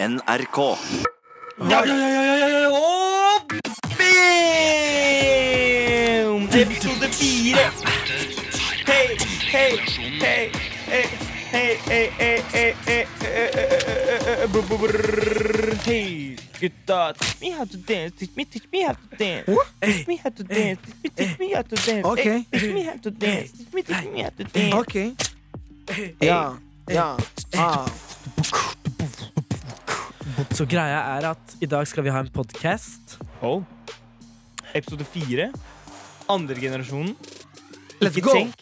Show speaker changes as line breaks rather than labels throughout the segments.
NRK.
Ja, ja, ja, ja, ja, ja. Og bam! Episode fire. Hei, hei, hei, hei. Hei, hei, hei, hei, hei, hei, hei, brr, brr, brr. Hei, gutta. Teach me how to dance, teach me, teach me how to dance. Teach me how to dance, teach me, teach me how to dance.
Okay.
Hey, Teach me how to dance, teach me, teach me how to dance.
Ok. Ja. Ja. Ah.
Så greia er at i dag skal vi ha en podkast.
Oh. Episode fire. Andregenerasjonen.
Let's
Ikke
go.
tenk.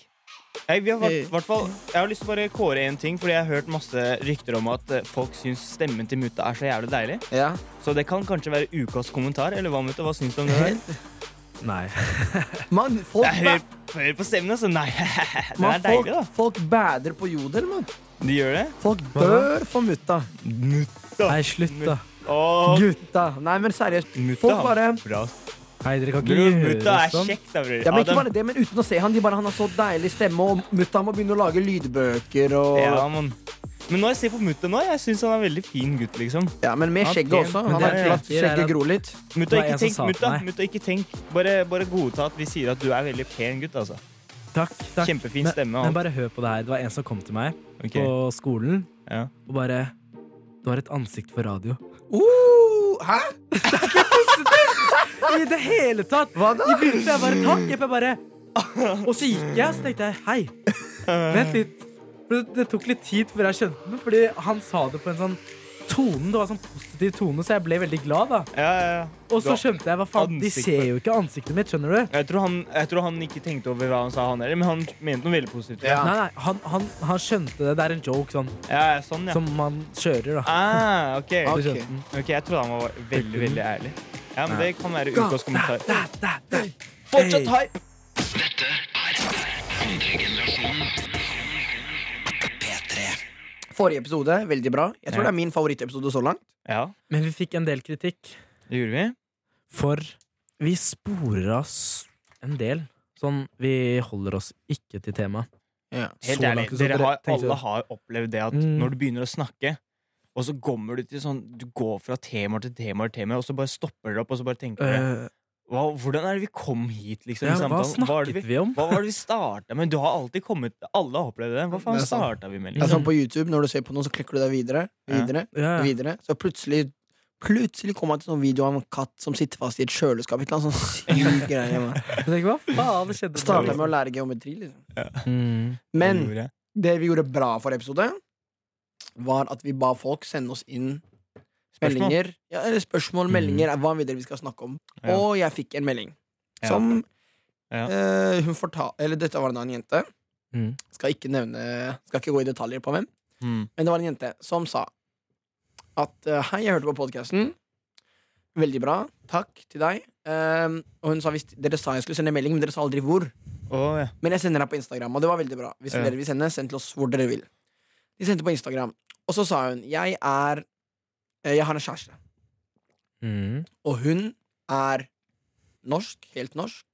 Nei, vi har
Eh.
hvert, hvert fall, jeg har lyst til å bare kåre én ting, Fordi jeg har hørt masse rykter om at eh, folk syns stemmen til mutta er så jævlig deilig.
Ja.
Så det kan kanskje være ukas kommentar, eller hva, mutta? Hva syns du om
Eh?
det? der?
Nei.
Mann, folk,
Jeg hører,
ba-
hører på stemmen, altså. Nei, den
mann,
er
folk,
deilig, da.
folk bader på jodel, mann.
De gjør det?
Folk bør få mutta.
Nei, slutt, da.
Åh,
Gutta. Nei, men seriøst.
mutta
Folk
har
bare
bra
Hei, dere kan
Bror,
ikke
mutta
gjøre
er
sånn.
kjekk, da, bror.
ja, men ikke
Adam-
bare det, men uten å se han, de bare, han har så deilig stemme, og mutta må begynne å lage lydbøker og
ja,
Ja,
man. Men når jeg ser på mutta nå, jeg syns han er en veldig fin gutt, liksom.
men med
Ja,
skjegget
det-
også.
men det
Han har
er-
ikke latt
det er-
skjegget gro litt.
Mutta,
Det var
ikke
jeg som
tenk.
sa til
Mutta,
meg.
mutta, ikke tenk. Bare, bare godta at vi sier at du er veldig pen gutt, altså.
Takk, takk.
Kjempefin
Men-
stemme og alt.
Men bare hør på det her. Det var en som kom til meg
Ok.
på skolen
Ja.
og bare Du har et ansikt for radio.
Uh, hæ?
I det hele tatt!
Hva da?
I begynnelsen jeg bare takk. Jeg bare Og så gikk jeg, og så tenkte jeg hei, vent litt. For det, det tok litt tid før jeg skjønte den, fordi han sa det på en sånn tone. Det var en sånn positiv tone, så jeg ble veldig glad, da.
Ja, ja, ja.
Og så
Da-
skjønte jeg hva faen De
ansikt for-
ser jo ikke ansiktet mitt, skjønner du?
Jeg tror, han, jeg tror han ikke tenkte over hva han sa, han heller, men han mente noe veldig positivt.
Ja.
Nei, nei, han, han, han skjønte det. Det er en joke sånn,
ja, ja sånn, ja.
som man kjører, da.
Ah, ok.
Ok.
Så skjønte han.
ok, jeg trodde han var veldig, veldig ærlig. Ja, men
Nei.
det kan være ukas kommentar.
Hey.
Fortsatt hype!
Forrige episode, veldig bra. Jeg tror
Ja.
det er min favorittepisode så langt.
Ja,
Men vi fikk en del kritikk,
det gjorde vi.
for vi sporer oss en del. Sånn, vi holder oss ikke til temaet.
Helt
Så
ærlig,
langt, så
dere
dere
har,
tenkte
alle
det.
har opplevd det at
Mm.
når du begynner å snakke, og så kommer du til sånn Du går fra temaer til temaer, til temaer og så bare stopper dere opp, og så bare tenker dere
Øh,
hva, Hvordan er det vi kom hit, liksom? i
ja, hva
samtalen? er det
snakket vi om?
Hva var det vi starta med? Du har alltid kommet Alle har opplevd det. Hva faen
Det er sant.
starta vi med?
Det er
Liksom?
sånn på YouTube, når du ser på noe, så klikker du deg videre, videre,
Ja, ja.
videre. Så plutselig Plutselig kom han til en sånn video av en katt som sitter fast i et kjøleskap. Et eller annet sånn syk greie. man.
Jeg tenker, hva faen, det skjedde
Startet med å lære geometri, liksom.
Mm.
Men
Det gjorde jeg.
det vi gjorde bra for episode, var at vi ba folk sende oss inn
Spørsmål. Mm.
meldinger. Ja, eller spørsmål,
Mhm.
meldinger, er hva videre vi skal snakke om.
Ja.
Og jeg fikk en melding
Ja.
som
Ja.
eh, hun fortalte Eller dette var en annen jente.
Mm.
Skal ikke nevne Skal ikke gå i detaljer på hvem.
Mm.
Men det var en jente som sa at eh, hei, jeg hørte på podkasten. Veldig bra. Takk til deg. Ehm, og hun sa hvis dere sa jeg skulle sende melding, men dere sa aldri hvor.
Å, ja.
Men jeg sender deg på Instagram, og det var veldig bra. Hvis
Ja.
dere vil sende, send til oss hvor dere vil. De sendte på Instagram, og så sa hun jeg er eh, Jeg har en kjæreste,
Mm.
og hun er norsk. Helt norsk.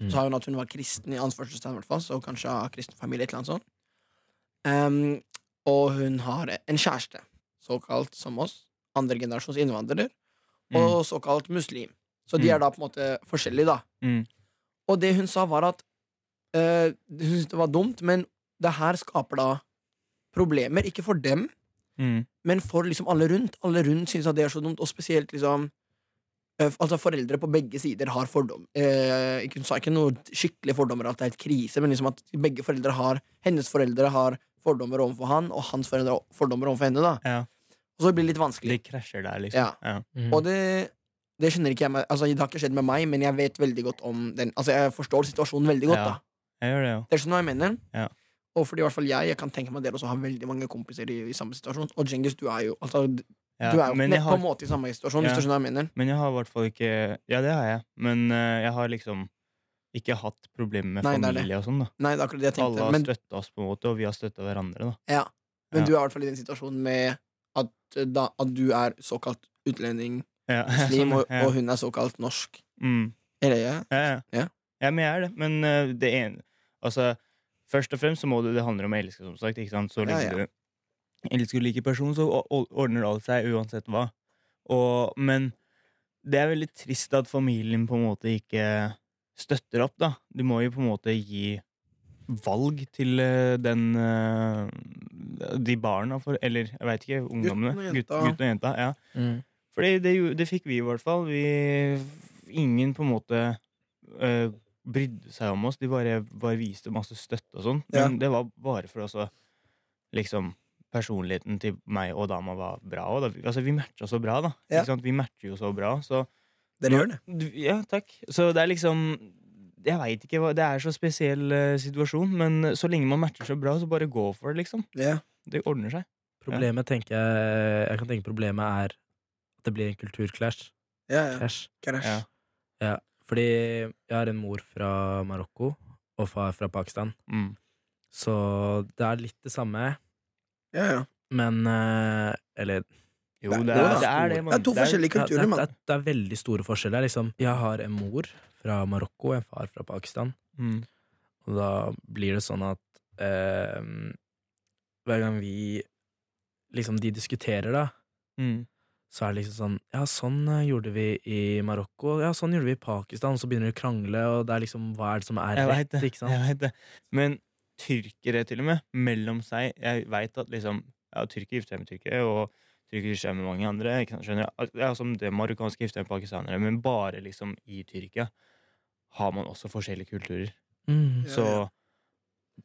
Mm.
Så sa hun at hun var kristen, i anførselstegn, i hvert fall, så kanskje av kristen familie. et eller annet sånt. Ehm, og hun har en kjæreste, såkalt som oss, andregenerasjons innvandrer,
Mm.
og såkalt muslim. Så de
Mm.
er da på en måte forskjellige, da.
Mm.
Og det hun sa, var at eh, hun syntes det var dumt, men det her skaper da problemer, ikke for dem,
Mm.
men for liksom alle rundt. Alle rundt syns at det er så dumt, og spesielt liksom eh, Altså Foreldre på begge sider har fordom eh, ikke- Hun sa ikke noe skikkelig fordommer, at det er et krise, men liksom at begge foreldre har hennes foreldre har fordommer overfor han, og hans foreldre har fordommer overfor henne. da
Ja.
Og så blir det litt vanskelig.
Det krasjer der, liksom.
Ja.
Mm.
Og det, det skjønner ikke jeg meg Altså Det har ikke skjedd med meg, men jeg vet veldig godt om den Altså jeg forstår situasjonen veldig godt.
Ja.
da
Jeg gjør det jo.
det er sånn jeg mener.
Ja.
Og fordi i hvert fall jeg, jeg kan tenke meg at dere også har veldig mange kompiser i, i samme situasjon. Og Djengis, du er jo altså, d-
Ja.
Du er jo
Men,
nett
jeg har,
på en måte i samme situasjon,
Ja.
hvis du skjønner hva jeg mener.
men jeg har i hvert fall ikke Ja, det har jeg. Men eh, jeg har liksom ikke hatt problemer med
Nei, det er det.
familie og sånn, da.
Nei, det er akkurat det jeg
Alle
tenkte.
har
Men,
støtta oss, på en måte, og vi har støtta hverandre, da.
men
ja.
du er i hvert fall i den situasjonen med at, eh, da, at du er såkalt utlending,
Ja.
muslim, og,
Sånn, ja.
og hun er såkalt norsk.
Mm.
Eller ja.
Ja, ja.
Ja.
ja. men jeg er det. Men eh, det ene Altså, først og fremst så må du Det handler om å elske, som sagt. Ikke sant? Så
Ja,
lenge
ja.
du elsker du like person, så o- o- ordner alt seg uansett hva. Og, men det er veldig trist at familien på en måte ikke støtter opp, da. Du må jo på en måte gi valg til eh, den eh, De barna, for, eller jeg veit ikke, ungdommene.
Gutten og
Gutt-
jenta.
Gutten og jenta. Ja.
mm.
Fordi det, gjo- det fikk vi i hvert fall. Vi, ingen på en måte øh, brydde seg om oss. De bare, bare viste masse støtte og sånn. Men det var bare for oss å liksom Personligheten til meg og dama var bra. Og da, altså, vi matcha så bra, da.
Ja.
Ikke sant? Vi matcher jo så bra. Så
Dere gjør det.
du- Ja, takk. Så det er liksom Jeg veit ikke hva Det er så spesiell eh, situasjon, men så lenge man matcher så bra, så bare gå for det, liksom.
Ja.
Det ordner seg.
Problemet tenker jeg Jeg kan tenke problemet er at det blir en kulturclash.
Ja, ja.
Clash.
Krasj.
Ja.
Ja, fordi jeg har en mor fra Marokko og far fra Pakistan,
Mm.
så det er litt det samme,
Ja, ja.
men eh, Eller
Jo, det
Det-
er
det
det.
var-
er det,
Det er to
Det er-
forskjellige
Ja,
kulturer,
det,
mann.
er- det, er- det er veldig store forskjeller. Liksom. Jeg har en mor fra Marokko og en far fra Pakistan.
Mm.
Og da blir det sånn at eh, hver gang vi liksom de diskuterer, da,
Mm.
så er det liksom sånn Ja, sånn eh, gjorde vi i Marokko, ja, sånn gjorde vi i Pakistan. Så begynner de å krangle, og det er liksom Hva er det som er
Jeg
rett?
vet det.
Ikke sant?
Jeg vet det. Men tyrkere, til og med, mellom seg Jeg veit at liksom ja, Tyrkere gifter seg med tyrkere, og tyrkere gifter seg med mange andre. Ikke sant? Skjønner jeg? Ja, som det marokkanske gifter seg med pakistanere, men bare liksom i Tyrkia har man også forskjellige kulturer.
Mm.
Ja,
Så
ja.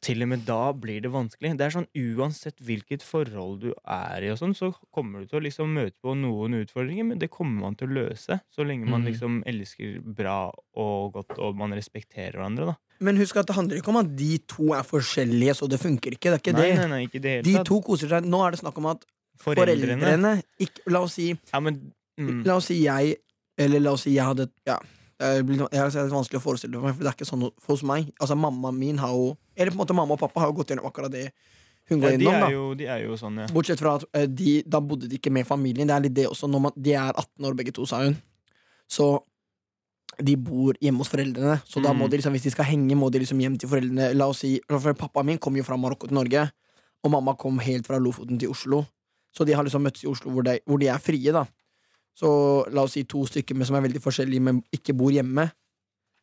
til og med da blir det vanskelig. Det er sånn Uansett hvilket forhold du er i, og sånn, så kommer du til å liksom møte på noen utfordringer, men det kommer man til å løse. Så lenge man
Mhm.
liksom elsker bra og godt, og man respekterer hverandre, da.
Men husk at det handler ikke om at de to er forskjellige, så det funker ikke. Det er ikke
nei,
det.
Nei, nei, ikke i det hele
De
tatt.
to koser seg. Nå er det snakk om at
Foreldrene.
foreldrene, ikke, La oss si
Ja, men mm,
La oss si jeg Eller la oss si jeg hadde ja, det blir no- jeg har- det er vanskelig å forestille meg, for det er ikke sånn hos meg. Altså Mammaen min har jo Eller på en måte mamma og pappa har jo gått gjennom akkurat det hun
ja,
går
de,
gjennom.
er
da
jo, de er jo sånn, ja.
Bortsett fra at eh, de, da bodde de ikke med familien. Det er litt det også når man, De er 18 år begge to, sa hun. Så de bor hjemme hos foreldrene. Så da må
Mm.
de liksom, hvis de skal henge, må de liksom hjem til foreldrene. La oss si, for Pappaen min kom jo fra Marokko til Norge, og mamma kom helt fra Lofoten til Oslo. Så de har liksom møttes i Oslo, hvor de, hvor de er frie. da Så la oss si to stykker med, som er veldig forskjellige, men ikke bor hjemme.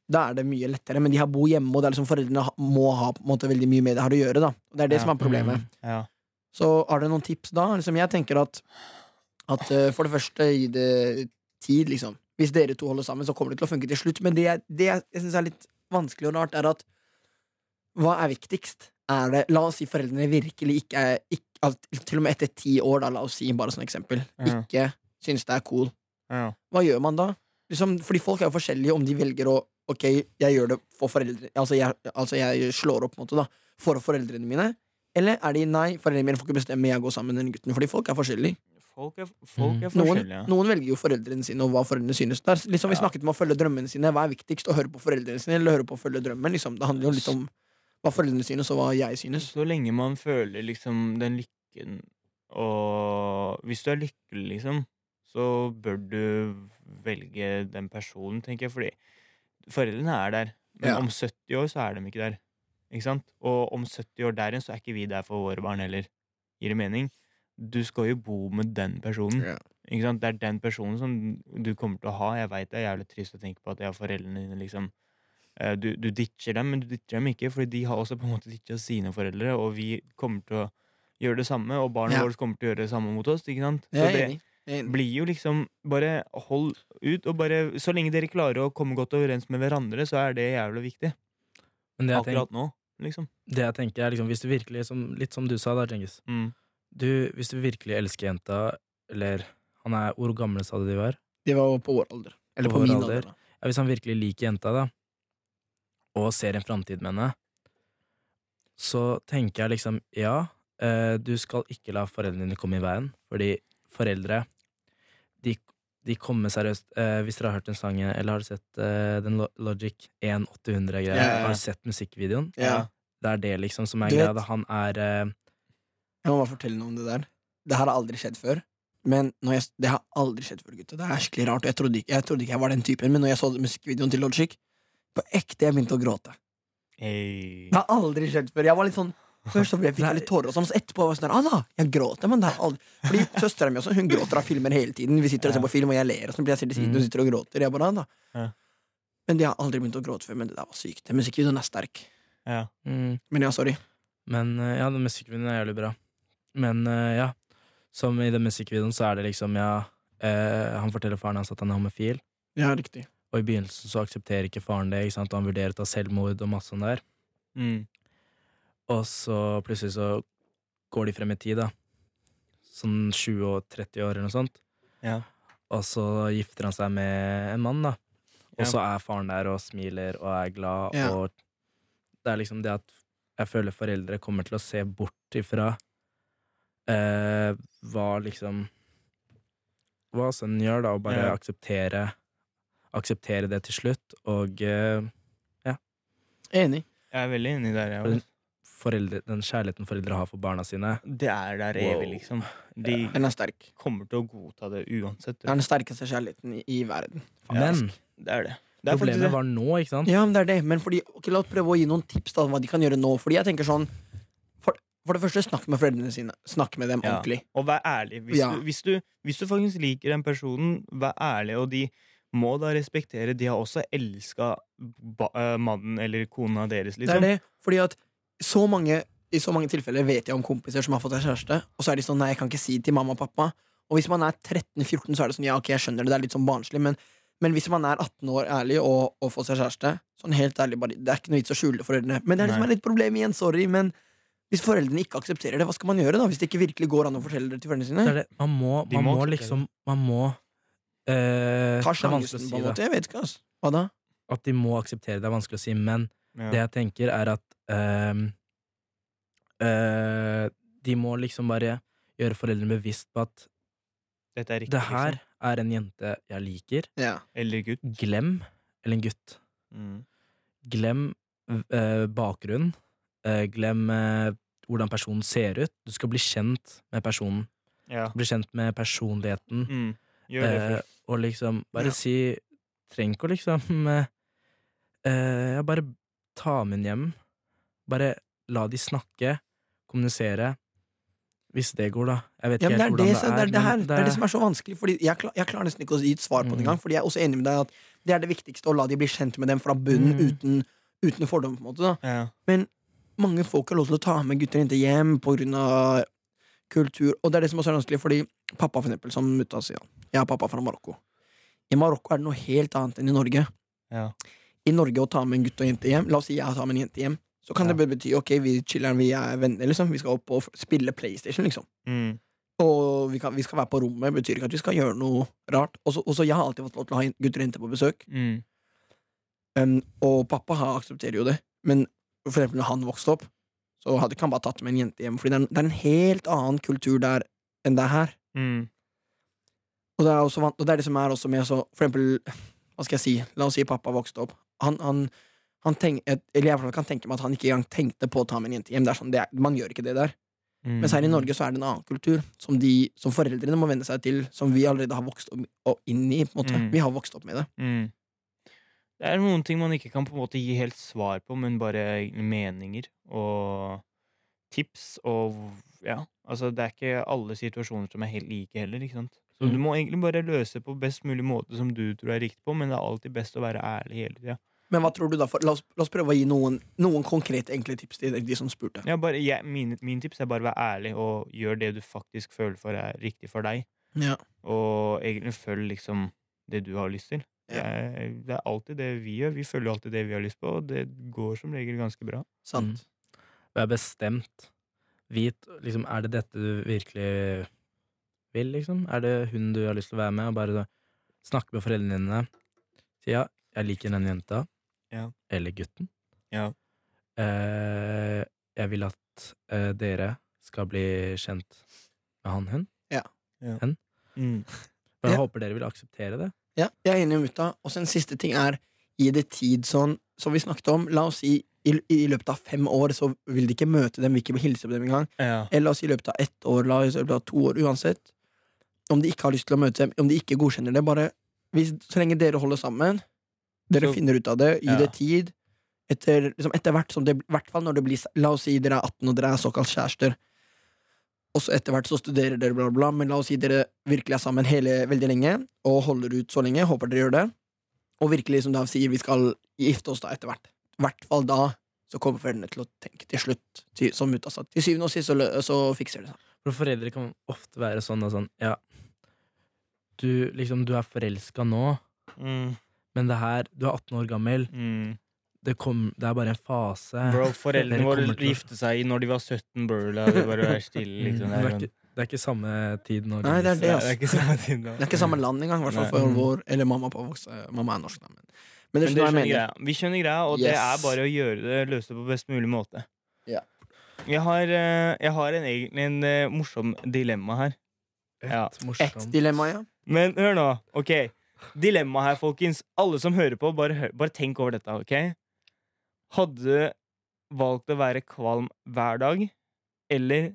Da er det mye lettere, men de har bor hjemme, og det er liksom foreldrene ha- må ha på en måte veldig mye med det her å gjøre. da Og Det er det
Ja.
som er problemet.
ja.
Så har dere noen tips da? Liksom, jeg tenker at, at eh, for det første gi det tid, liksom. Hvis dere to holder sammen, så kommer det til å funke til slutt. Men det, jeg- det jeg- jeg syns er litt vanskelig og rart, er at hva er viktigst? Er det, la oss si foreldrene virkelig ikke er ikke, at, Til og med etter ti år, da, la oss si, bare som eksempel,
Ja.
ikke syns det er cool.
ja.
Hva gjør man da? Liksom, fordi folk er jo forskjellige om de velger å Ok, jeg gjør det for foreldre Altså, jeg, altså jeg slår opp på en måte da for foreldrene mine. Eller er de nei, foreldrene mine får ikke bestemme, jeg går sammen med den gutten. Fordi folk er forskjellige.
Folk er, folk er
Mm. Noen,
forskjellige. ja.
noen velger jo foreldrene sine og hva foreldrene synes. Det er liksom Vi
Ja.
snakket om å følge drømmene sine. Hva er viktigst? Å høre på foreldrene sine eller høre på å følge drømmen? Liksom. Det handler jo litt om hva foreldrene synes, og hva jeg synes.
Så lenge man føler liksom den lykken Og hvis du er lykkelig, liksom, så bør du velge den personen, tenker jeg, fordi foreldrene er der. Men
Ja.
om 70 år så er de ikke der. Ikke sant? Og om 70 år der igjen, så er ikke vi der for våre barn heller. Gir det mening? Du skal jo bo med den personen.
Ja.
Ikke sant? Det er den personen som du kommer til å ha. Jeg veit det er jævlig trist å tenke på at jeg har foreldrene dine, liksom. Eh, Du, du ditcher dem, men du ditcher dem ikke, Fordi de har også på en måte ditcha sine foreldre, og vi kommer til å gjøre det samme, og barna
Ja.
våre kommer til å gjøre det samme mot oss. Ikke sant? Så
Jeg er
det
enig. Jeg er enig.
blir jo liksom Bare hold ut, og bare Så lenge dere klarer å komme godt overens med hverandre, så er det jævlig viktig.
Men det jeg, tenker,
Akkurat nå, liksom.
det jeg tenker er liksom, hvis du virkelig, som, litt som du sa da, Djengis
Mm.
du, Hvis du virkelig elsker jenta, eller han er, Hvor gamle sa du de var?
De var jo på vår alder. Eller
På
på,
vår
min
alder.
alder. da.
Ja, hvis han virkelig liker jenta, da, og ser en framtid med henne, så tenker jeg liksom ja, eh, du skal ikke la foreldrene dine komme i veien, fordi foreldre de, de kommer seriøst eh, Hvis dere har hørt en sang, eller har dere sett eh, den Lo- Logic
Ja, ja,
1800-greia,
ja.
har dere sett musikkvideoen?
Ja.
Det er det liksom som er
Du vet-
greia. da. Han er eh,
Jeg må bare fortelle noe om det der. Det her har aldri skjedd før. Men når jeg, det har aldri skjedd før, gutta. Det er skikkelig rart. Og jeg trodde, ikke, jeg trodde ikke jeg var den typen, men når jeg så musikkvideoen til Logic, på ekte jeg begynte å gråte.
Hey.
Det har aldri skjedd før. Jeg var litt sånn Først så ble jeg fikk jeg litt tårer og sånn, så etterpå var jeg sånn der, Anna, jeg gråter, men det er aldri Fordi søstera mi også, hun gråter av filmer hele tiden. Vi sitter og ser på film, og jeg ler, og så blir jeg sett i siden, hun sitter og gråter. Jeg bare, Anna.
Ja.
Men de har aldri begynt å gråte før, men det der var sykt. Den Musikkvideoen er sterk.
Ja.
Mm.
Men ja, sorry.
Men eh, ja, den musikkvideoen er jævlig bra. Men eh, ja, som i den musikkvideoen så er det liksom, ja eh, Han forteller faren hans at han er homofil,
Ja, riktig.
og i begynnelsen så aksepterer ikke faren det, ikke sant? og han vurderer å ta selvmord og masse sånn der.
Mm.
Og så plutselig så går de frem i tid, da. Sånn 20 og 30 år eller noe sånt.
Ja.
Og så gifter han seg med en mann, da. Og
Ja.
så er faren der og smiler og er glad,
Ja.
og det er liksom det at jeg føler foreldre kommer til å se bort ifra eh, hva liksom Hva sønnen gjør, da, og bare
Ja.
akseptere, akseptere det til slutt, og eh,
Enig.
Jeg er veldig enig der, jeg.
For
også.
foreldre, den kjærligheten foreldre har for barna sine,
Det er der evig,
Wow.
liksom. De
Den er sterk.
kommer til å godta det uansett.
Det er den sterkeste kjærligheten i, i verden.
Men
Det er det. Det er faktisk
problemet
det.
var nå, ikke sant?
Ja, men det er det. Men fordi, ok, la oss prøve å gi noen tips da, hva de kan gjøre nå. Fordi jeg tenker sånn For, for det første, snakk med foreldrene sine. Snakk med dem
Ja.
ordentlig.
Og vær ærlig. Hvis,
Ja.
du, hvis, du, hvis du faktisk liker den personen, vær ærlig, og de må da respektere De har også elska mannen eller kona deres, liksom.
Det er det, fordi at så mange, I så mange tilfeller vet jeg om kompiser som har fått seg kjæreste, og så er de sånn 'nei, jeg kan ikke si det til mamma og pappa'. Og hvis man er 13-14, så er det sånn 'ja, ok, jeg skjønner det, det er litt sånn barnslig', men, men hvis man er 18 år ærlig og, og får seg kjæreste, sånn helt ærlig, bare, det er ikke noe vits å skjule det for foreldrene. Men det er det som
Nei.
er litt problemet igjen, sorry, men hvis foreldrene ikke aksepterer det, hva skal man gjøre da? Hvis det ikke virkelig går an å fortelle det til foreldrene
Det
sine?
er det. Man må,
De
man
må
må,
akseptere
liksom Man må eh,
Ta
Det er vanskelig
sjansen,
å
på
si
en
da.
måte. Jeg vet ikke, ass. Hva da?
At de må akseptere det, er vanskelig å si, men
Ja.
det jeg tenker, er at ehm, eh, De må liksom bare gjøre foreldrene bevisst på at
Dette er riktig.
det her
liksom.
er en jente jeg liker.
Ja.
Eller gutt. Mm.
Glem Eller en gutt. Glem eh, bakgrunnen. Eh, glem eh, hvordan personen ser ut. Du skal bli kjent med personen.
Ja.
Bli kjent med personligheten.
Mm. Gjør det
Eh,
først.
og liksom
Ja.
bare si Trenger ikke å liksom eh, eh, ja, Bare ta med den hjem. Bare la de snakke, kommunisere. Hvis det går, da. Jeg vet
Ja,
ikke
men det
helt
er
hvordan
det,
det,
som- det,
er.
er det, her,
men
det er det som er så vanskelig. Fordi jeg, klar, jeg klarer nesten ikke å gi et svar på det
Mm.
engang. Fordi jeg er også enig med deg at det er det viktigste å la de bli kjent med dem fra bunnen
Mm.
uten, uten fordom. på en måte da.
Ja.
Mange folk har lov til å ta med gutter og jenter hjem pga. kultur. Og det er det som også er vanskelig, fordi pappa, for eksempel, som mutta sier Jeg har pappa fra Marokko. I Marokko er det noe helt annet enn i Norge.
Ja.
I Norge å ta med en gutt og jente hjem La oss si jeg tar med en jente hjem. Så kan
Ja.
det bare bety ok, vi chiller'n, vi er venner, liksom. Vi skal opp og f- spille PlayStation, liksom.
Mm.
Og vi, kan, vi skal være på rommet, betyr ikke at vi skal gjøre noe rart. Også, også jeg har alltid fått lov til å ha jen- gutter og jenter på besøk,
Mm.
um, og pappa har, aksepterer jo det. Men for eksempel når han vokste opp, så hadde ikke han bare tatt med en jente hjem, Fordi det er, en- det er en helt annen kultur der enn det er her.
Mm.
Og det er, også, van- og det, er det som er også med så, For eksempel, hva skal jeg si, la oss si pappa vokste opp. Han, han, han tenk, et, eller jeg i hvert fall kan tenke meg at han ikke engang tenkte på å ta med en jente hjem. Det er sånn, det er, man gjør ikke det der.
Mm.
Mens her i Norge så er det en annen kultur som, de, som foreldrene må venne seg til, som vi allerede har vokst opp og inn i. på en måte.
Mm.
Vi har vokst opp med det.
Mm. Det er noen ting man ikke kan på en måte gi helt svar på, men bare meninger og tips og Ja. Altså, det er ikke alle situasjoner som er helt like heller, ikke sant? Så
Mm.
du må egentlig bare løse på best mulig måte som du tror er riktig på, men det er alltid best å være ærlig hele tida.
Men hva tror du da? For, la, oss, la oss prøve å gi noen, noen konkrete enkle tips til de som spurte.
Ja, bare, jeg, min, min tips er bare å være ærlig og gjør det du faktisk føler for er riktig for deg,
Ja.
og egentlig følg liksom det du har lyst til. Det
Ja.
er, det er alltid det vi gjør. Vi følger alltid det vi har lyst på, og det går som regel ganske bra.
Sant.
Vær bestemt. Vit liksom Er det dette du virkelig vil, liksom? Er det hun du har lyst til å være med? Og bare snakke med foreldrene dine. Si ja, jeg liker den jenta.
Ja.
Eller gutten.
Ja.
Eh, jeg vil at eh, dere skal bli kjent med han, hun.
Mm.
Men jeg
Ja.
håper dere vil akseptere det.
Ja, jeg er enig med mutta. Og så en siste ting er gi det tid, sånn som vi snakket om. La oss si i, i løpet av fem år så vil de ikke møte dem, vil ikke hilse på dem engang.
Ja.
Eller la oss si i løpet av ett år, la oss si i løpet av to år, uansett. Om de ikke har lyst til å møte dem, om de ikke godkjenner det, bare hvis, så lenge dere holder sammen, dere
Så-
finner ut av det, gi
Ja.
det tid, etter, liksom etter hvert som det I hvert fall når det blir La oss si dere er 18 og dere er såkalt kjærester. Og så etter hvert så studerer dere, bla, bla, bla. Men la oss si dere virkelig er sammen hele, veldig lenge og holder ut så lenge. Håper dere gjør det. Og virkelig som Dav sier, vi skal gifte oss da etter hvert. I hvert fall da så kommer foreldrene til å tenke til slutt. Til, som Mutta sa. Til syvende og sist så, lø- så fikser det seg.
For foreldre kan ofte være sånn og sånn Ja, du, liksom, du er forelska nå,
Mm,
men det her Du er 18 år gammel.
mm.
Det, kom, det er bare en fase.
Bro, foreldrene
Dere
våre
kommer til å-
gifte seg når de var 17, bro. La det bare være stille, liksom. Det
Mm,
er,
det, er
sånn-
ikke, det er ikke samme tid nå.
Nei, det er
liksom.
Nei,
ass.
det er ikke samme tid, da.
Det er ikke samme land engang, i hvert fall for
Nei.
vår Eller mamma og pappa vokser. Mamma er norsk, da, men Men
Men dere
dere
skjønner
skjønner hva jeg mener.
greia. Vi skjønner greia, og det er
Yes.
bare å gjøre det, løse det på best mulig måte.
Ja.
Jeg har, eh, jeg har en, egentlig en eh, morsom dilemma her. Ja.
Et morsomt.
Ett dilemma, ja.
Men hør nå. ok Dilemma her, folkens. Alle som hører på, bare, hør, bare tenk over dette. ok? Hadde du valgt å være kvalm hver dag eller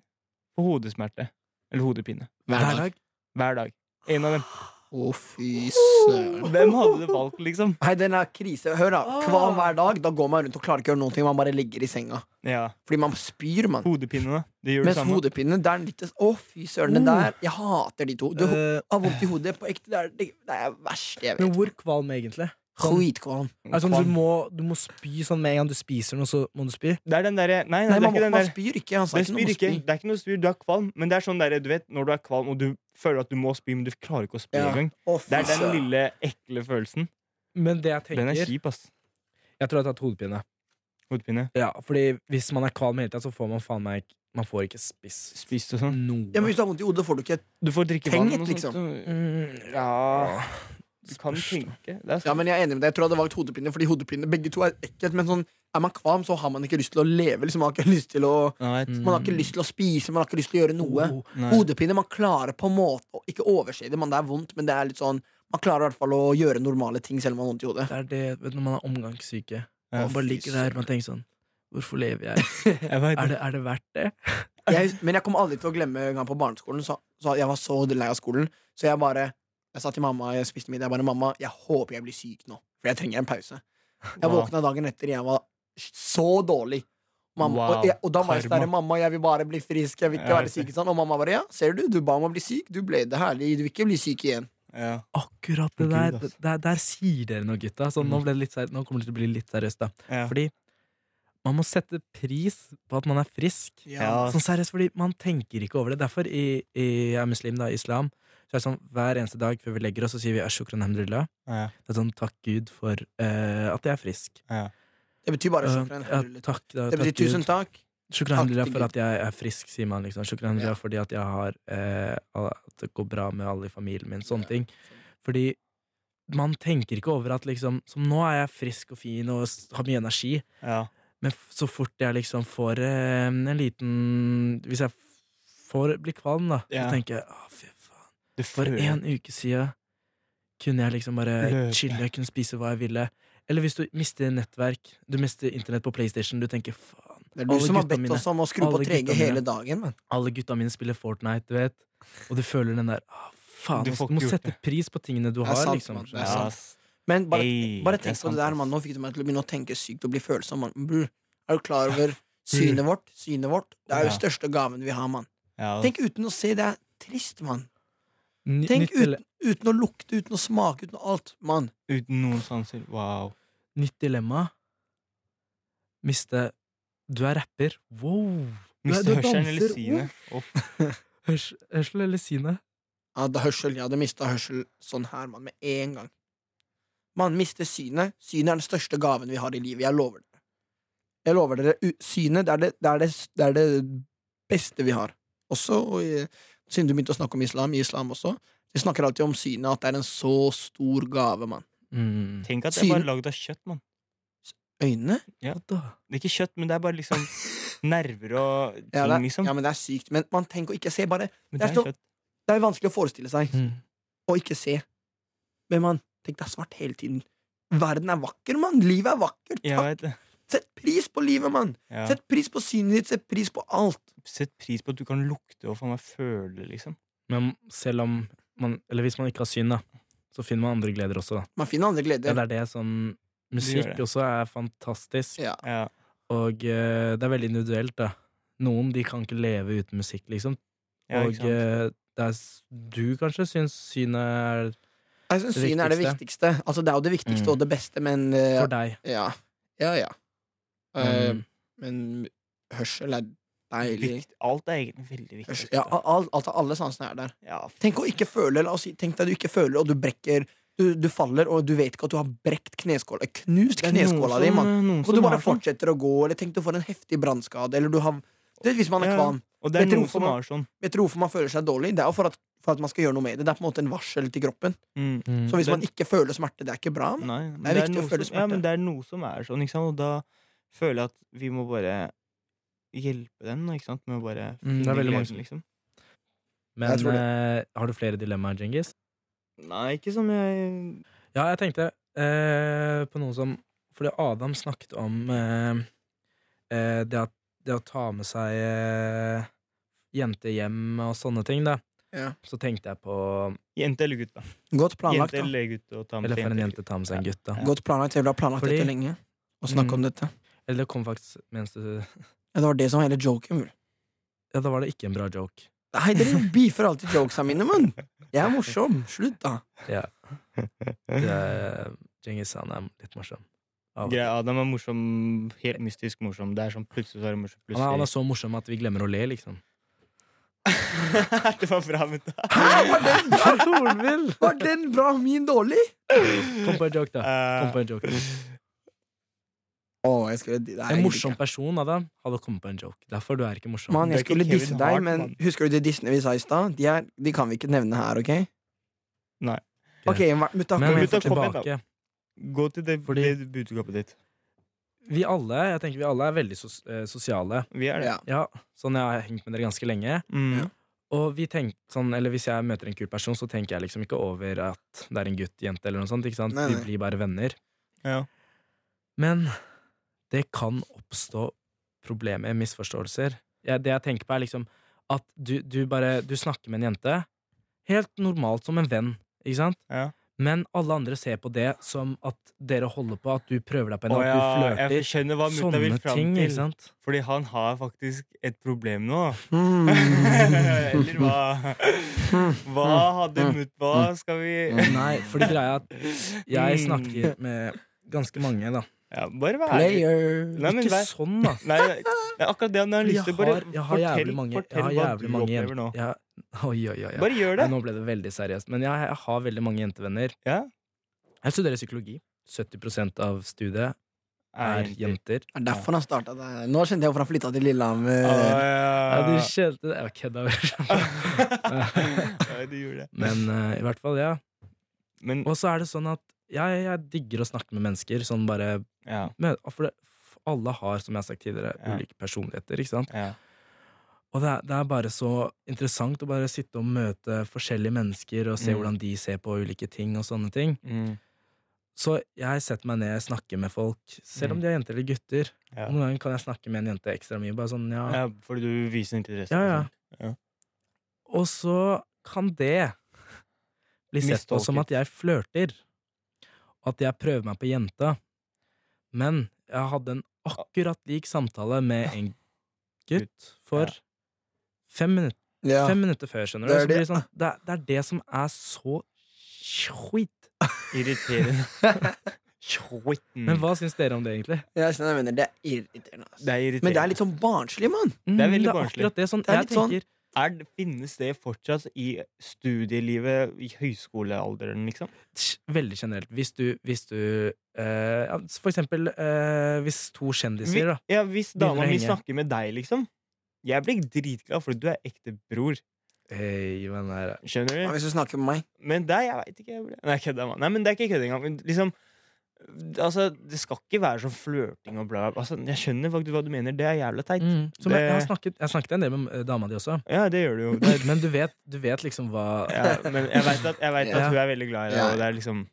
få hodesmerte? Eller hodepine.
Hver dag.
Hver dag. En av dem.
Å, fy søren.
Hvem hadde du valgt, liksom?
Hei, den er krise. Hør, da. Kvalm hver dag. Da går man rundt og klarer ikke å gjøre noen ting. Man bare ligger i senga.
Ja,
Fordi man spyr, mann.
Hodepine, da. Det gjør det
Mens
samme. Uh.
hodepine, det er den litt Å, fy søren. Den der. Jeg hater de to. Du
Eh,
har vondt i hodet. På ekte. Det er det, det er verst jeg
men
vet.
hvor kvalm, egentlig?
Skitkvalm.
Er det sånn, du, må, du må spy sånn med en gang du spiser noe, så må du spy?
Det er den derre Nei, nei, det
Nei,
er
man,
ikke
må-
den
man
der.
spyr ikke. Han sa
Det
ikke noe
spyr
om å
ikke.
spy.
Det er ikke noe spyr, du er kvalm. Men det er sånn derre, du vet, når du er kvalm og du føler at du må spy, men du klarer ikke å spy
Ja.
engang.
Å, fy
Det er den
søren.
lille, ekle følelsen.
Men det jeg
Den
tenker
er kjip, ass.
Jeg tror jeg har tatt hodepine.
Hodepine.
Ja, fordi hvis man er kvalm hele tida, så får man faen meg ikke Man får ikke spist
spist og sånn.
noe.
Ja, men Hvis du har vondt i hodet, får du ikke
Du får drikke
Tenk
vann.
et,
og
liksom.
sånt.
Mm, ja
Du kan tenke. Det er
Ja,
sant.
men Jeg er enig med deg, jeg tror jeg hadde valgt hodepine, fordi hodepine begge to er ekkelt. Men sånn, er man kvalm, så har man ikke lyst til å leve. Liksom. Man, har ikke lyst til å,
Jeg vet.
man har ikke lyst til å spise, man har ikke lyst til å gjøre noe.
Oh,
Nei.
Hodepine, man klarer på en måte å ikke overse det, men det er vondt. Men det er litt sånn man klarer i hvert fall å gjøre normale ting selv om man har vondt i hodet.
det er det vet, du, når man er omgangssyke.
Ja.
Man bare ligger der og tenker sånn Hvorfor lever jeg?
Jeg vet.
Er det, er det verdt det?
Jeg, men jeg kommer aldri til å glemme en gang på barneskolen. Så, så jeg var så lei av skolen, så jeg bare Jeg sa til mamma jeg spiste middag, jeg bare mamma, jeg håper jeg blir syk nå, for jeg trenger en pause. Jeg
Wow.
våkna dagen etter, jeg var så dårlig. Mamma,
Wow,
og, jeg, og da var jeg sånn
karma.
der, mamma, jeg vil bare bli frisk, jeg vil ikke
Ja,
være
riktig.
syk. Sånn. Og mamma bare ja, ser du, du ba om å bli syk, du ble det herlig, du vil ikke bli syk igjen.
Ja.
Akkurat det
Gud,
der,
ass.
der, der sier dere noe, gutta. Så
Mm.
nå, ble det litt seri- nå kommer det til å bli litt seriøst, da.
Ja.
Fordi man må sette pris på at man er frisk.
Ja.
Sånn seriøst, fordi man tenker ikke over det. Derfor i, i, jeg er muslim, da, i islam, så er det sånn hver eneste dag før vi legger oss, så sier vi ashukran hamdulillah.
Ja.
Det er sånn takk Gud for eh, at jeg er frisk.
Det betyr bare sånn
Eh,
sjokkerende.
ja, takk, da,
Det
takk
betyr tusen
Gud.
takk.
Shukran hamdulillah
Takk til
for at jeg er frisk, sier man liksom. Shukran hamdulillah fordi at jeg har eh, At det går bra med alle i familien min. Sånne ting. Fordi man tenker ikke over at liksom Som nå er jeg frisk og fin og s- har mye energi.
Ja.
Men f- så fort jeg liksom får eh, en liten Hvis jeg f- får bli kvalm, da,
Ja.
så tenker jeg å, fy faen.
Du
For
føler-
en uke siden kunne jeg liksom bare
Løpe.
chille, jeg kunne spise hva jeg ville. Eller hvis du mister nettverk, du mister internett på PlayStation, du tenker faen.
Det er du
Alle
som har
gutta
bedt
mine.
oss om å skru på
Alle
3G
gutta mine.
hele dagen. Men.
Alle gutta mine spiller Fortnite, du vet. Og du føler den der å, faen, altså,
Du
du,
får
må
ikke gjort
sette pris på tingene du
Det er
har,
sant,
liksom.
mann, det er
Ja,
sant.
ass.
Men bare,
Ey,
bare
det er
tenk på
sant,
det der,
ass.
mann. Nå fikk du meg til å begynne å tenke sykt og bli følsom. mann. Bror, Er du klar over synet vårt? Synet vårt Det er jo
Ja.
største gaven vi har, mann.
Ja.
Tenk uten å se. Det er trist, mann.
Ny-
Tenk
nytt, dile-
uten, uten å lukte, uten å smake, uten alt. Mann.
Uten noen sanser. Wow.
nytt dilemma. Miste Du er rapper. Wow! Du er-
Miste
du er
hørselen eller
danser.
synet. Uff.
Hørs, hørsel eller synet?
Jeg hadde hørsel. Jeg hadde mista hørsel sånn her, mann, med en gang. Man mister synet. Synet er den største gaven vi har i livet. Jeg lover dere. Jeg lover dere, u- Synet det er det, det, er det, det, er det beste vi har. Også og i, siden du begynte å snakke om islam, i islam også. Vi snakker alltid om synet, at det er en så stor gave, mann.
Mm.
Tenk at det er
Syn.
bare lagd av kjøtt, mann.
Øynene?
Hva da?
Det er ikke kjøtt, men det er bare liksom nerver og ting,
Ja, det,
liksom.
ja, men det er sykt. Men man tenker å ikke se. Bare,
Men
det
det
er
er
så-
kjøtt.
det er jo vanskelig å forestille seg
Mm.
å ikke se. Men man, tenk det er svart hele tiden. Verden er vakker, mann. Livet er vakkert.
Jeg
Takk.
vet det.
Sett pris på livet, mann.
Ja.
Sett pris på synet ditt, sett pris på alt.
Sett pris på at du kan lukte og faen meg føle, liksom.
Men selv om man Eller hvis man ikke har syn, da, så finner man andre gleder også, da.
Man finner andre
Ja,
gleder.
det er det som Musikk
gjør det.
også er fantastisk,
Ja.
Ja.
og eh, det er veldig individuelt, da. Noen de kan ikke leve uten musikk, liksom.
Ja, ikke
og
sant?
eh, det er s- du kanskje syns synet er
Jeg syns
Det
synet er det viktigste. Altså, det er jo det viktigste
Mm.
og det beste, men eh,
for deg.
Ja. Ja, ja. Eh,
Mm.
Men
men hørsel er deilig.
Vikt, alt er egentlig veldig viktig.
Hørsel, eh, ja, al- al- altså, alle sansene er der.
Ja, f-
Tenk å ikke føle. La oss si, tenk deg du ikke føler, og du brekker du, du faller, og du vet ikke at du har brekt kneskåla. Knust
det er noen
kneskåla
som-
di, mann.
noen
Og du
som
bare
har sånn.
fortsetter å gå, eller tenk du får en heftig brannskade, eller du har Du vet hvis man er
Ja.
kvam.
Og det er
Vet du
noen
hvorfor
som
man-
har sånn.
Vet dere hvorfor man føler seg dårlig? Det er jo for at, for at man skal gjøre noe med det. Det er på en måte en varsel til kroppen.
Mm.
Mm.
Så hvis
Den-
man ikke føler smerte, det er ikke bra.
Nei, men
Det er viktig å
noe
føle
som, ja,
smerte.
men det er noe som er sånn, ikke sant? og da føler jeg at vi må bare hjelpe den ikke sant? med å bare
Mm, det er
finne
veldig mange
gleden,
som-
liksom.
Jeg
Men
tror det.
eh, har du flere dilemmaer, Djengis?
Nei, ikke som jeg
Ja, jeg tenkte eh, på noe som Fordi Adam snakket om eh, eh, det, at, det å ta med seg eh, jenter hjem og sånne ting, da.
Ja.
Så tenkte jeg på
Jente eller gutt, da.
Godt
Jente
planlagt, da.
eller gutt og ta med
Eller
seg
for en
jente.
jente ta med seg en gutt, da.
Godt planlagt, Jeg ville ha planlagt
Fordi-
dette
Mm.
lenge. Og snakke om dette.
Eller det kom faktisk mens du Ja,
Ja, det var det som var hele joken. vel.
da var det ikke en bra joke.
Nei, dere beefer alltid jokesa mine, mann! Jeg er morsom. Slutt, da.
Ja. Det- Djengis han er litt morsom. Av-
Greia, Adam er morsom, helt mystisk morsom. Det er sånn plutselig så er det morsom.
Han er, han er
Plutselig.
så morsom at vi glemmer å le, liksom.
det var bra, men da.
Hornvill!
Var den bra, min dårlig?
Kom på en joke, da. Kom på en joke.
Å, jeg skulle Nei, jeg
En
gidder
morsom
ikke.
person Adam hadde kommet på en joke. Derfor du er ikke morsom.
Mann,
Det er
jeg
ikke
skulle
Kevin
disse
Hart,
deg, men
mann.
husker du de dissene vi sa i stad? De, er- de kan vi ikke nevne her, OK?
Nei.
Ok, hva- mutta, kom
Men
igjen.
vi
Gutta,
får
fortsett.
kom igjen, da.
tilbake.
Eh, Gå til det, det
Fordi-
budskapet ditt.
Vi alle jeg tenker vi alle er veldig sos eh, sosiale.
Vi er det.
Ja.
Ja, sånn Jeg har hengt med dere ganske lenge.
Mm.
Ja.
Og vi tenk, sånn, eller Hvis jeg møter en kul person, så tenker jeg liksom ikke over at det er en gutt, jente eller noe sånt. ikke sant?
Nei, nei.
Vi blir bare venner.
Ja.
Men det kan oppstå problemer, misforståelser. Jeg- det jeg tenker på, er liksom at du, du bare Du snakker med en jente helt normalt som en venn, ikke sant?
Ja.
Men alle andre ser på det som at dere holder på, at du prøver deg på en
Å
dag,
ja, jeg
du flørter.
skjønner hva mutta vil
Sånne
fram
ting, ikke
til.
sant?
Fordi han har faktisk et problem nå.
Hmm. Mm.
Eller hva? Hva hadde
Mm.
Mutt Hva skal vi
Nei, fordi greia er at jeg
Mm.
snakker med ganske mange, da.
ja, Bare vær ærlig.
Player.
Nei, men
Ikke
vær
sånn, da.
Nei, det er akkurat det han har
Fordi
lyst
Jeg
til. Bare
har, jeg har
fortell,
jævlig mange, jeg
fortell
har
hva
jævlig
du
mange
opplever nå.
jenter. Jeg- Oi, oi, oi. oi.
Bare gjør
Nei,
det.
Nå ble det veldig seriøst. Men jeg, jeg har veldig mange jentevenner.
Ja.
Jeg studerer psykologi. 70 av studiet er jenter.
Det er derfor han starta der. Nå skjønte jeg hvorfor han flytta til
Ah,
Lillehammer.
Ja, du
Ja,
skjønte det. Jeg kødda.
ja, du gjorde det.
Men eh, i hvert fall, ja.
Men
Og så er det sånn at jeg, jeg digger å snakke med mennesker. Sånn bare
ja,
men, For det, f- alle har, som jeg har sagt tidligere,
Ja.
ulike personligheter, ikke sant?
ja.
Og det er, det er bare så interessant å bare sitte og møte forskjellige mennesker og se
Mm.
hvordan de ser på ulike ting og sånne ting.
Mm,
Så jeg setter meg ned og snakker med folk, selv om de er jenter eller gutter.
Mm. ja.
Noen ganger kan jeg snakke med en jente ekstra mye. Bare sånn, ja.
ja. Fordi du viser interesse.
Ja, ja.
og sånt.
Og så kan det bli sett på
Mistolket.
som at jeg flørter. Og at jeg prøver meg på jenta. Men jeg hadde en akkurat lik samtale med en gutt for fem minutter,
Ja.
fem minutter før, skjønner du.
Det
Det
er
er det.
det.
Sånn, det, er, det er det som er så skit.
Irriterende. Skjorten.
Men hva syns dere om det, egentlig?
Jeg skjønner, jeg mener, det er irriterende. ass.
Mm. Det er irriterende.
Men det er litt sånn barnslig, mann.
Mm,
veldig barnslig.
akkurat det. Sånn,
Det er
jeg
litt sånn-
tenker
Er, det- finnes det fortsatt i studielivet, i høyskolealderen, liksom?
Tsk, Veldig generelt. Hvis du, hvis du eh, ja, For eksempel eh, hvis to kjendiser, da.
Vi- ja, hvis
Begynner
dama
å
mi
henge.
snakker med deg, liksom. Jeg blir dritglad, for du er ekte bror.
Hei, men her er-
Skjønner du?
Hvis du snakker med meg.
Men det, jeg veit ikke. Jeg ble. Nei, kødda, mann. Nei, men det er ikke kødd engang. Men Liksom, altså, det skal ikke være sånn flørting og bla. bla. Altså, jeg skjønner faktisk hva du mener. Det er jævla teit.
Som jeg, jeg, har
Det-
snakket, jeg har snakket en del med eh, dama di også,
Ja, det gjør du jo. Det er,
men du vet, du vet liksom hva
ja, men jeg veit at, jeg vet
Ja.
at hun er veldig glad i deg,
Ja.
og det er liksom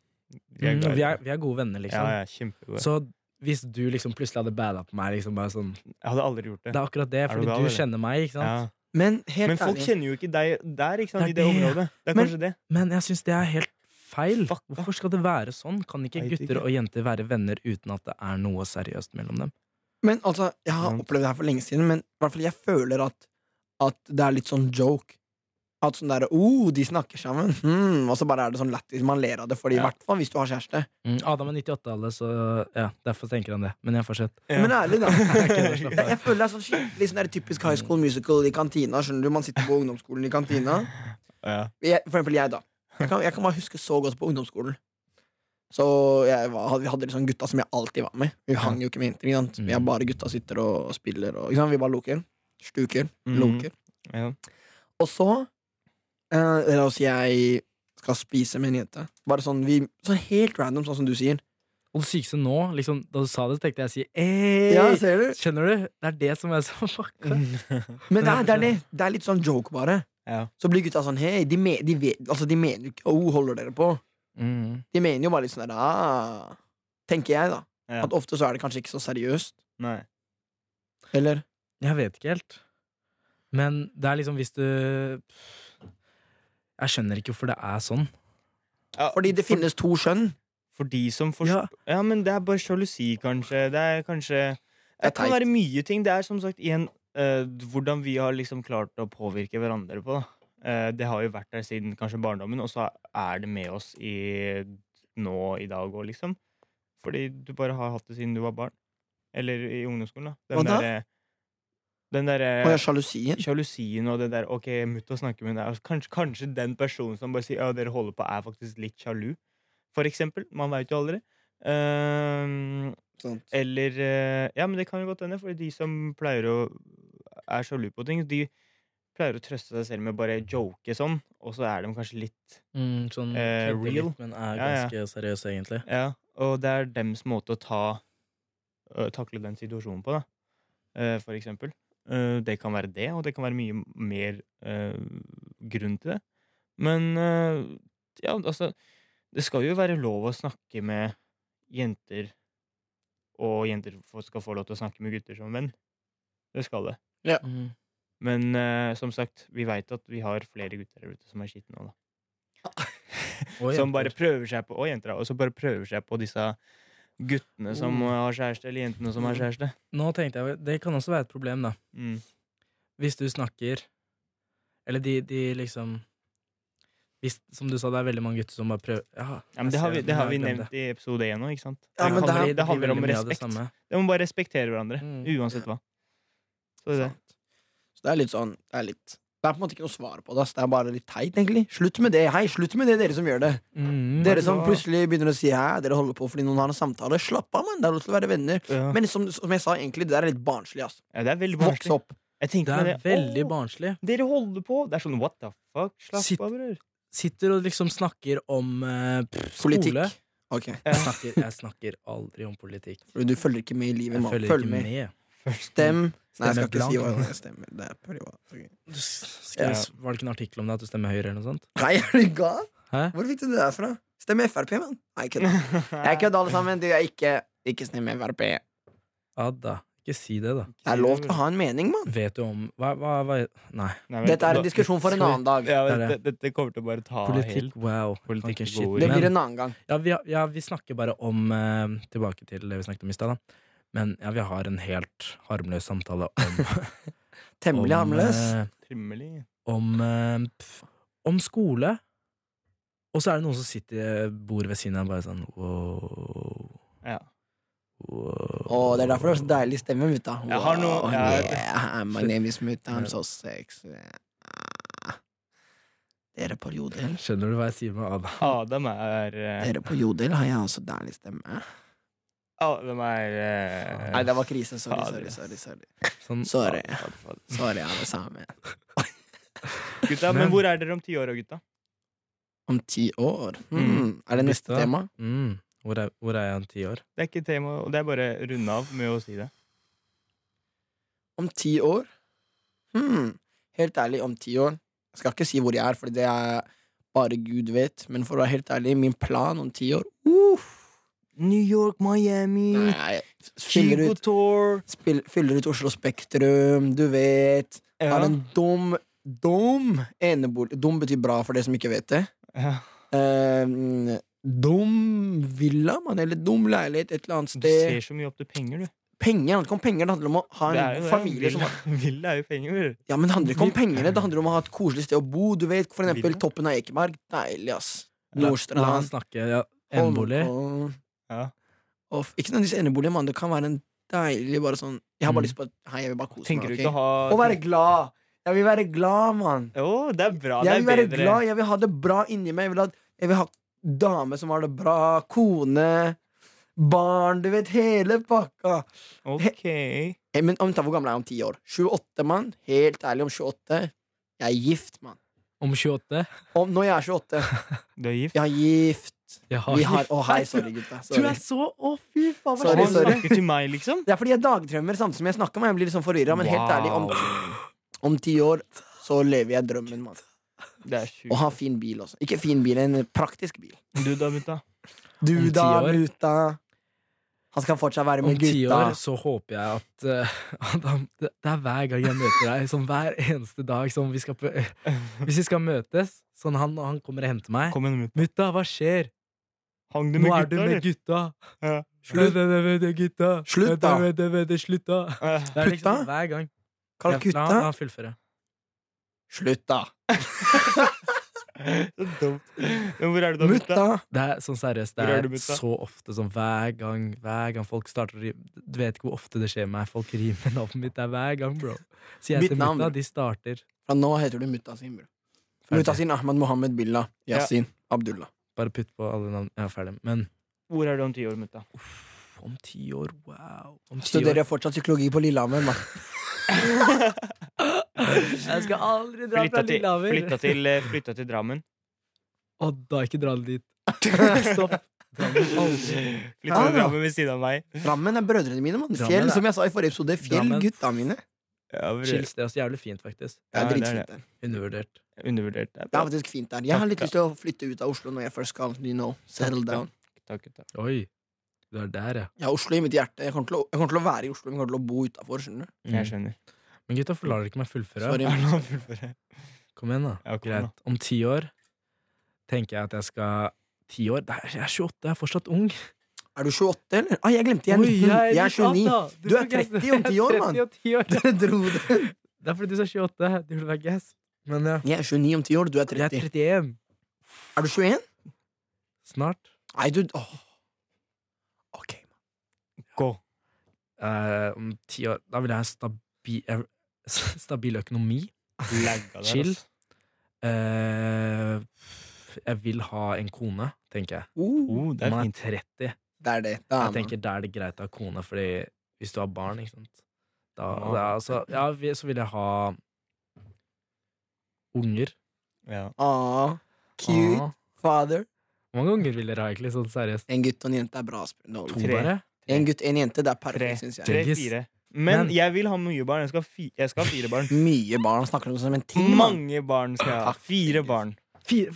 vi
mm,
glad i
vi, er,
deg.
vi er gode venner, liksom.
Ja, ja, kjempegod.
Så hvis du liksom plutselig hadde bada på meg, liksom bare sånn
Jeg hadde aldri gjort det.
Det er akkurat det,
du
fordi
gal,
du
eller?
kjenner meg, ikke sant?
Ja.
Men helt
Men folk
ærlig
kjenner jo ikke deg der, ikke sant,
Det er
i det
det.
området. Det er
Men-
kanskje det.
Men jeg syns det er helt feil?
Fuck, da.
Hvorfor skal det være sånn? Kan ikke
Vet
gutter
ikke.
og jenter være venner uten at det er noe seriøst mellom dem?
Men altså, jeg har
Sant.
opplevd det her for lenge siden, men i hvert fall jeg føler at, at det er litt sånn joke. At sånn derre oh, de snakker sammen, hmm, og så bare er det sånn lættis. Man ler av det, fordi i
Ja.
hvert fall hvis du har kjæreste.
Mm, Adam er 98-alle, så ja, derfor tenker han det. Men jeg fortsetter.
Ja.
Men ærlig, da.
kødder, slapp av.
Jeg, jeg føler det er sånn skikkelig sånn der typisk high school musical i kantina. Skjønner du, Man sitter på ungdomsskolen i kantina.
Ja.
Jeg, for eksempel jeg, da. Jeg kan, jeg kan bare huske så godt på ungdomsskolen. Så jeg var, hadde- Vi hadde liksom gutta som jeg alltid var med. Vi hang jo ikke med jenter. ikke sant? Vi er
Mm.
bare gutta sitter og spiller. Og, ikke sant? Vi bare loker. Stuker.
Mhm.
Loker.
Ja.
Og så eh, La oss si jeg skal spise med en jente. Bare sånn, vi, sånn helt random, sånn som du sier.
Og det sykeste nå, liksom, da du sa det, tenkte jeg å si «Ey!»
ser du?
Skjønner du? Det er det som er så fucka.
Men det er, det, er det, det er litt sånn joke, bare.
Ja.
Så blir gutta sånn Hei, de, me, de, vet, altså, de mener jo ikke Å, holder dere på?
Mm.
De mener jo bare litt sånn der ah, Tenker jeg, da.
Ja.
At ofte så er det kanskje ikke så seriøst.
Nei.
Eller?
Jeg vet ikke helt. Men det er liksom hvis du Jeg skjønner ikke hvorfor det er sånn.
Ja,
Fordi det finnes to skjønn.
For de som forstår ja. men det er bare sjalusi, kanskje. Det er kanskje Det
er
kan
teit.
være mye ting. Det er som sagt igjen eh, hvordan vi har liksom klart å påvirke hverandre på, da. Eh, det har jo vært der siden kanskje barndommen, og så er det med oss i nå i dag òg, liksom. Fordi du bare har hatt det siden du var barn. Eller i ungdomsskolen, da.
Hva da?
derre- Den derre
Og jeg er sjalusien.
sjalusien og det der Ok, mutta snakker med deg altså, kanskje, kanskje den personen som bare sier Ja, dere holder på, er faktisk litt sjalu. For eksempel. Man veit jo aldri. Ehm,
Sant.
eller eh, Ja, men det kan jo godt hende, for de som pleier å er sjalu på ting, de pleier å trøste seg selv med bare joke sånn, og så er de kanskje litt
Mm, sånn
Eh,
kødder
real?
litt, men er
Ja, ja.
ganske seriøs, egentlig.
Ja, og det er dems måte å ta øh, takle den situasjonen på, da. Eh, for eksempel. Eh, det kan være det, og det kan være mye mer eh, grunn til det. Men eh, ja, altså Det skal jo være lov å snakke med jenter, og jenter få- skal få lov til å snakke med gutter som venn. Det skal det.
Mm.
Men eh, som sagt, vi veit at vi har flere gutter der ute som er skitne nå, da
Og
som
jenter.
bare prøver seg på Og jenter, da. Og så bare prøver seg på disse guttene som
Mm.
har kjæreste, eller jentene som har kjæreste.
Nå tenkte jeg, Det kan også være et problem, da.
Mm.
Hvis du snakker Eller de, de liksom hvis, Som du sa, det er veldig mange gutter som bare prøver ja,
Ja, men
jeg
det har
ser
vi,
men
det har vi
jeg glemte
nevnt i episode én òg, ikke sant?
Ja,
det,
men det
handler,
her
det handler om
blir veldig mye av det
respekt.
samme.
Det må bare respektere hverandre,
Mm.
uansett hva. Så det er det.
Sant. Så det er litt sånn Det er litt det er på en måte ikke noe svar på det. ass. Det er bare litt teit, egentlig. Slutt med det, hei, slutt med det, dere som gjør det.
Mm.
Dere som
Ja.
plutselig begynner å si hæ, dere holder på fordi noen har en samtale. Slapp av, mann. Det er lov til å være venner.
Ja.
Men som, som jeg sa, egentlig, det der er litt barnslig, ass.
ja, det er veldig
Voks
barnslig.
opp.
Jeg tenker
Det
med
er
det.
veldig
Åh,
barnslig.
Dere holder på! Det er sånn what the fuck? Slapp
Sitt-
av, bror.
Sitter og liksom snakker om eh, pff, skole.
Politikk. Ok,
Jeg snakker, jeg snakker aldri om politikk.
for Du følger ikke med i livet,
Jeg
mann.
følger
Følg
ikke
med.
med.
Stem. Nei, jeg skal
Stemmer
ikke si hva
blankt.
jeg stemmer. Det er privat. Ok.
Du s- skrev, Var det ikke en artikkel om det at du stemmer Høyre, eller noe sånt?
Nei, er du gal?
Hæ?
Hvor fikk du det der fra? Stem Frp, mann. Nei, kødda. Jeg kødder, alle sammen. Du, jeg ikke Ikke stem Frp. Det
Adda. Ikke si det, da.
er lov til å ha en mening, mann.
Vet du om Hva, hva, hva Nei.
Nei, vent,
Dette er
da-
en diskusjon for en
Skal vi-
annen dag.
Ja,
Der, ja.
dette, dette kommer til å bare ta
Politikk,
helt
wow.
Politikk
Ok,
er
shit.
gode ord.
Det
Men-
blir en annen gang.
Ja, vi, har- ja, vi snakker bare om eh, Tilbake til det vi snakket om i stad, da. Men ja, vi har en helt harmløs samtale om eh,
Temmelig
om,
harmløs.
eh,
trimmelig.
om, eh, pff, om skole. Og så er det noen som sitter eh, bor ved siden av og bare sånn wow,
Ja.
wow.
Å, det er derfor det er så deilig stemme, mutta.
Jeg har noe-
Wow,
ja,
yeah, my name is mutta. I'm so sexy. Ah. Dere på Jodel
Skjønner du hva jeg sier med Ada?
Adam er eh,
Dere på Jodel har jeg også deilig stemme.
Adam er eh,
Nei, det var krise. Sorry, sorry,
Fader.
sorry. sorry.
Sånn,
Sorry,
fader, fader.
sorry alle sammen.
Gutta, men,
Men-
hvor er dere om ti år, da, gutta?
Om ti år?
Mm.
Hmm. Er det neste
Bytta.
tema?
mm, hvor, er, hvor er jeg om ti år?
Det er ikke tema, og det er bare runde av med å si det.
Om ti år? Hmm. Helt ærlig, om ti år Jeg skal ikke si hvor jeg er, for det er bare Gud vet. Men for å være helt ærlig, min plan om ti år uff,
New York, Miami,
Nei, fyller ut,
Tour
spill, fyller ut Oslo Spektrum, du vet.
ja.
Har en dum, dum enebolig Dum betyr bra for dere som ikke vet det.
Ja.
eh, dum villa, man, eller dum leilighet et eller annet
Du ser
sted.
så mye opp til penger, du.
Penger, det handler ikke om penger, det handler om å ha
Det er
en
jo det.
familie som
Villa- Villa er jo penger. du.
Ja, men det handler ikke om pengene, det handler om å ha et koselig sted å bo. Du vet, for eksempel
Villa.
toppen av Ekeberg. Deilig, ass.
La, la han
Nordstrand.
snakke. Ja, Enebolig.
Holmenkollen.
Ja.
Og f- Ikke nødvendigvis enebolig, mann. Det kan være en deilig bare sånn Jeg har
Mm.
bare lyst på at Hei, jeg vil bare kose
Tenker
meg.
du
ok?
ikke å ha
Å være glad. Jeg vil være glad, mann.
Jo, det er bra. Det
Jeg
er
vil være
bedre.
glad, jeg vil ha det bra inni meg. Jeg vil ha, jeg vil ha dame som har det bra, kone, barn, du vet, hele pakka.
Ok.
Eh, Men om, hvor gammel er jeg om ti år? 28, mann. Helt ærlig, om 28 Jeg er gift, mann.
Om 28.
Om, når jeg er 28
Du er gift?
Jeg er gift.
Jeg har,
Vi har Å, hei, sorry, gutta.
Du
Sorry.
er så Å, fy faen, hva
Sorry,
Han
skjer?
sorry.
snakker til meg, liksom?
Det er fordi jeg dagdrømmer samtidig som jeg snakker med Jeg blir liksom forvirra, men helt ærlig, om,
Wow.
om ti år så lever jeg drømmen, mann.
Det er
Og
sjukt.
har fin bil også. Ikke fin bil, en praktisk bil.
Du da, mutta?
Du
Om ti
da,
år?
gutta. Han skal fortsatt være
Om
med
ti
gutta.
år så håper jeg at, eh, at han, det, det er hver gang jeg møter deg, som hver eneste dag som vi skal på- Hvis vi skal møtes, sånn han, han kommer og henter meg.
Kom igjen, mutta.
Mutta, hva skjer?
Hang du
Nå
med
er du
gutta,
med
eller?
gutta.
Ja.
Slutt, gutta.
Slutt, da.
Slutt, Slutt, da.
Eh,
Det er liksom
Putta?
hver gang.
Kall
Ja, La, han- la
gutta.
han fullføre.
Slutt, da.
Så dumt. Men hvor er du da, mutta?
Mutta.
Det er sånn seriøst, det
Hvor er
er
du, mutta?
så ofte sånn hver gang, hver gang folk starter å rime Du vet ikke hvor ofte det skjer meg, folk rimer navnet mitt. Det er hver gang, bro. Sier
Mitt
jeg til
navn,
mutta,
bro.
de starter.
Fra nå heter du mutta sin, bro.
Ferdig.
Mutta sin Ahmad Mohammed Billah. Yasin. Abdullah.
Bare putt på alle navn. Ja, ferdig. Men
Hvor er du om ti år, mutta?
uff, om ti år, wow. Om ti år.
Studerer fortsatt psykologi på Lillehammer, mann.
Jeg skal aldri dra
Flytta
fra
til, flytta
Lillehammer.
til, eh, flytta til Drammen.
Og da ikke dra dit. Stopp. Dra dit aldri.
Flytta til Drammen ved siden av meg.
Drammen er brødrene mine, mann.
Drammen
Fjell,
er-
som jeg sa i forrige episode. Fjell,
Drammen.
gutta mine.
Ja, bror.
Chill sted. også Jævlig fint, faktisk.
Det
Ja,
er
det er
dritfint der.
Undervurdert.
Undervurdert. Det er
Det
bra.
er faktisk fint der. Jeg har litt
Takk,
lyst til å flytte ut av Oslo når jeg først skal. You know, settle down.
Takk, gutta.
Oi. Du er der, ja.
Jeg har Oslo i mitt hjerte. Jeg kommer til å, jeg kommer til å være i Oslo, men jeg kommer til å bo utafor. Skjønner du?
Jeg
Mm.
skjønner.
Men gutta, forlar dere ikke meg fullføre?
Sorry.
Er det noe å fullføre?
Kom igjen, da.
Ja, kom igjen,
Greit. Om ti år tenker jeg at jeg skal Ti år? Det er- Jeg er 28, jeg er fortsatt ung.
Er du 28, eller? Ah, jeg glemte. Jeg er 19. jeg er 29. Du er 30 om 10 år, mann! Dere dro det.
Det er fordi du sa 28. Du burde være gass. Men ja.
Jeg er 29 om 10 år, du er
Jeg er
30.
31.
Er du 21?
Snart.
Nei, du åh. Ok.
Gå.
Eh, om ti år Da vil jeg ha stabi, eh, stabil økonomi.
Lagga der,
Chill.
ass.
Eh, jeg vil ha en kone, tenker jeg.
Oh,
Oh, det
Når
er
man er
fint.
30.
det er det. Da
Jeg
er man.
tenker da er det greit å ha kone, fordi hvis du har barn, ikke sant da,
Ja.
da, så, ja, vi- så vil jeg ha unger.
Ja.
Ah, cute
Ah.
father.
Hvor mange unger vil dere ha, egentlig? Sånn seriøst.
En gutt og en jente er bra. Asbjørn. Det
To,
holder.
Tre.
bare?
En gutt og en jente, det er
Tre.
perfekt, syns jeg.
Jeggis.
Tre-fire. Men
Men-
jeg vil ha mye barn. Jeg skal ha, fi jeg skal ha fire barn.
Mye barn snakker om det som en
Mm.
ting. mann.
Mange barn skal jeg ha.
Takk,
Fire
Jeggis.
barn.
Fire,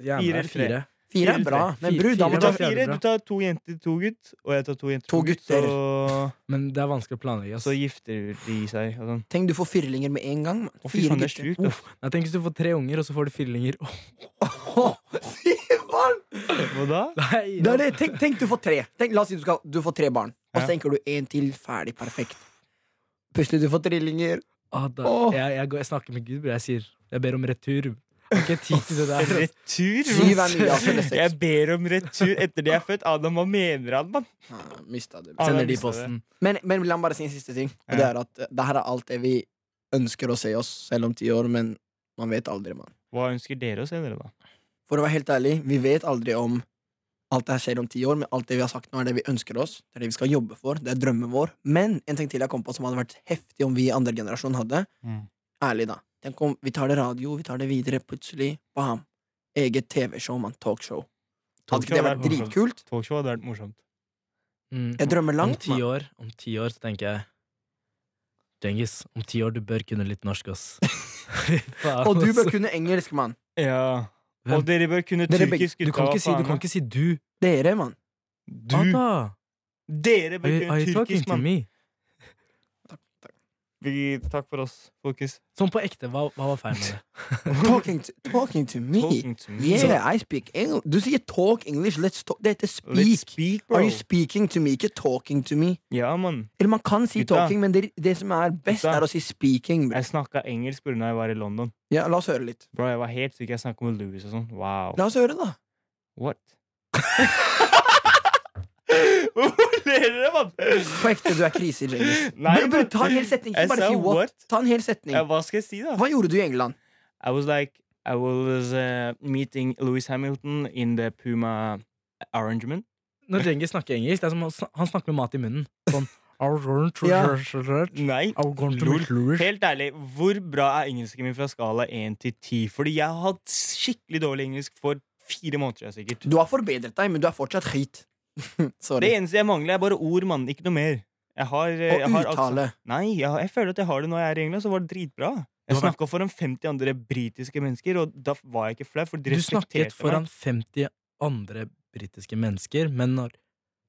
gjerne,
Fire eller tre?
fire.
Fire er bra, men bror, da
Du
må du
Fire-
tar
ha
fire,
bra.
du tar to jenter, to gutt, og jeg tar to jenter,
To
gutt.
gutter.
Så,
Men det er vanskelig å planlegge. altså. ass.
så gifter de seg og sånn.
Tenk, du får firlinger med en gang. mann.
Å, fy
Fire
faen, det er
gutter.
sjukt. ass.
Nei, Tenk hvis du får tre unger, og så får du fyllinger. Åh,
Fy faen!
Hva da?
nei!
Det er det. Tenk, tenk du får tre. Tenk, la oss si du, skal, du får tre barn, og
Ja.
så tenker du en til. Ferdig, perfekt. Plutselig du får trillinger.
Ah, da,
Åh.
jeg, jeg, går, jeg snakker med Gud, bror. Jeg sier Jeg ber om retur. Jeg har ikke tid til det der. ass.
Retur?
Syv er
ass.
mye, altså. Eller
Jeg
seks.
ber om retur etter de er født. Adam, hva mener han, mann?
Ah, mista det.
Ah, jeg
Sender de
visste det.
posten.
Men, men la meg bare si en siste ting. Og det
Ja.
er at eh, det her er alt det vi ønsker å se oss selv om ti år, men man vet aldri, mann.
Hva ønsker dere å se dere, da?
For å være helt ærlig, vi vet aldri om alt det her skjer om ti år, men alt det vi har sagt nå, er det vi ønsker oss. Det er det vi skal jobbe for. Det er drømmen vår. Men en ting til jeg kom på som hadde vært heftig om vi i andre generasjon hadde.
Mm.
Ærlig, da. Tenk om vi tar det radio, vi tar det videre, plutselig, bam. Eget TV-show, mann. Talkshow. Hadde ikke det vært
Talkshow er-
dritkult?
Talkshow hadde vært morsomt.
Mm.
Jeg drømmer
Om
langt,
ti
mann.
år, om ti år så tenker jeg Djengis, om ti år du bør kunne litt norsk, ass. Fy faen,
Og du
ass.
bør kunne engelsk, mann.
Ja.
Hvem?
Og dere bør kunne
Dere begge-
tyrkisk,
du
gutta.
kan,
hva
ikke si, du
faen,
kan ikke si du.
Dere, mann.
da.
Ada,
Du! Dere
are
bør
you- are
kunne
you talking
tyrkisk,
to
mann.
me?
Vi, takk for oss, folkens.
Sånn på ekte, hva, hva var feil med det?
Talking to, talking to me.
Talking to me.
Yeah, I speak English. Du sier talk English. Let's talk. Det heter
Let's
speak.
speak,
Are
bro.
you speaking to me, ikke talking to me?
Ja, mann.
Eller man kan si
Gutta.
talking, men det, det som er best,
Gutta.
er å si speaking.
Jeg snakka engelsk pga. jeg var i London.
Ja, la oss høre litt.
Bro, Jeg var helt syk. Jeg snakka med Louis og sånn. Wow.
La oss høre, da.
What? Hvorfor ler dere, mann?
På ekte, du er krise, Djengis.
Nei,
Bare- bare Ta en hel setning. Ikke
jeg
bare
sa
si what.
what.
Ta en hel
Ja,
setning.
hva skal jeg si, da?
Hva gjorde du i England?
I was like I was uh, meeting Louis Hamilton in the Puma arrangement.
Når Djengis snakker engelsk, det er som å sn- han snakker med mat i munnen. Sånn
Ja.
Nei, helt ærlig, hvor bra er engelsken min fra skala 1 til 10? Fordi jeg har hatt skikkelig dårlig engelsk for fire måneder siden sikkert.
Du har forbedret deg, men du er fortsatt høyt.
Det
Sorry.
eneste jeg mangler, er bare ord, mann. Ikke noe mer. Jeg har, eh, jeg
Og
har
uttale.
aksent. Nei, jeg, har- jeg føler at jeg har det når jeg er i England, så var det dritbra. Jeg
Du har vært-
snakka foran 50 andre britiske mennesker, og da var jeg ikke flau, for de
Du snakket
respekterte
foran
meg.
50 andre britiske mennesker, men når,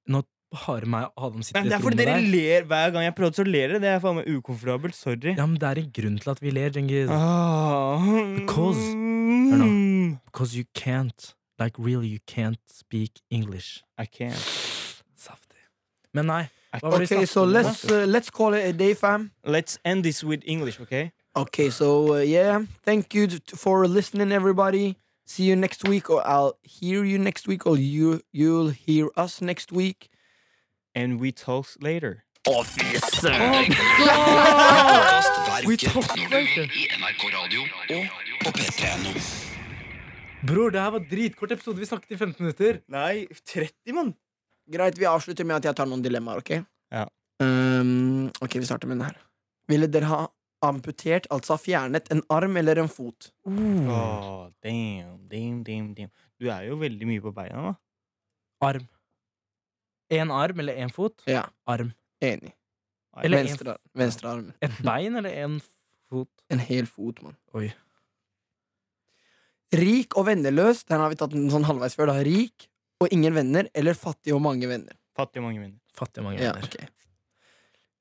når bare meg og Adam
Nei,
sitter
det
i
er
et
fordi
rom
dere
der
ler hver gang jeg prøver så ler dere. Det er faen meg ukomfortabelt. Sorry.
Ja, men det er en grunn til at vi ler, Djengis.
Ah.
Because- Hør Because you can't. Like, really, you can't speak English.
I can't.
Saftig. Men nei.
I
Hva var det vi
Ok,
snakket
so
om nå?
let's, uh, let's call it a day, fam.
Let's end this with English, okay?
Okay, so uh, yeah, thank you t- for listening, everybody. See you next week, or I'll hear you next week, or you you'll hear us next week.
And we talk later.
Podkast hver
We
uke
talk
når du
later.
vil i NRK Radio og på P3.no.
Bror, det her var dritkort episode. Vi snakket i 15 minutter.
Nei, 30, mann!
Greit, vi avslutter med at jeg tar noen dilemmaer, ok?
Ja.
Um, ok, vi starter med den her. Ville dere ha amputert, altså fjernet, en arm eller en fot?
Mm.
Åh, Ah, damn, damn, damn, damn. Du er jo veldig mye på beina, da.
Arm. En arm eller en fot?
Ja,
Arm.
enig.
Eller en-
venstre, arm. venstre arm.
Et bein eller en fot?
En hel fot, mann.
Oi.
Rik og venneløs, den har vi tatt en sånn halvveis før, da. Rik og ingen venner, eller fattig og mange venner?
Fattig mange minner.
Fattige mange
Ja,
venner.
ok.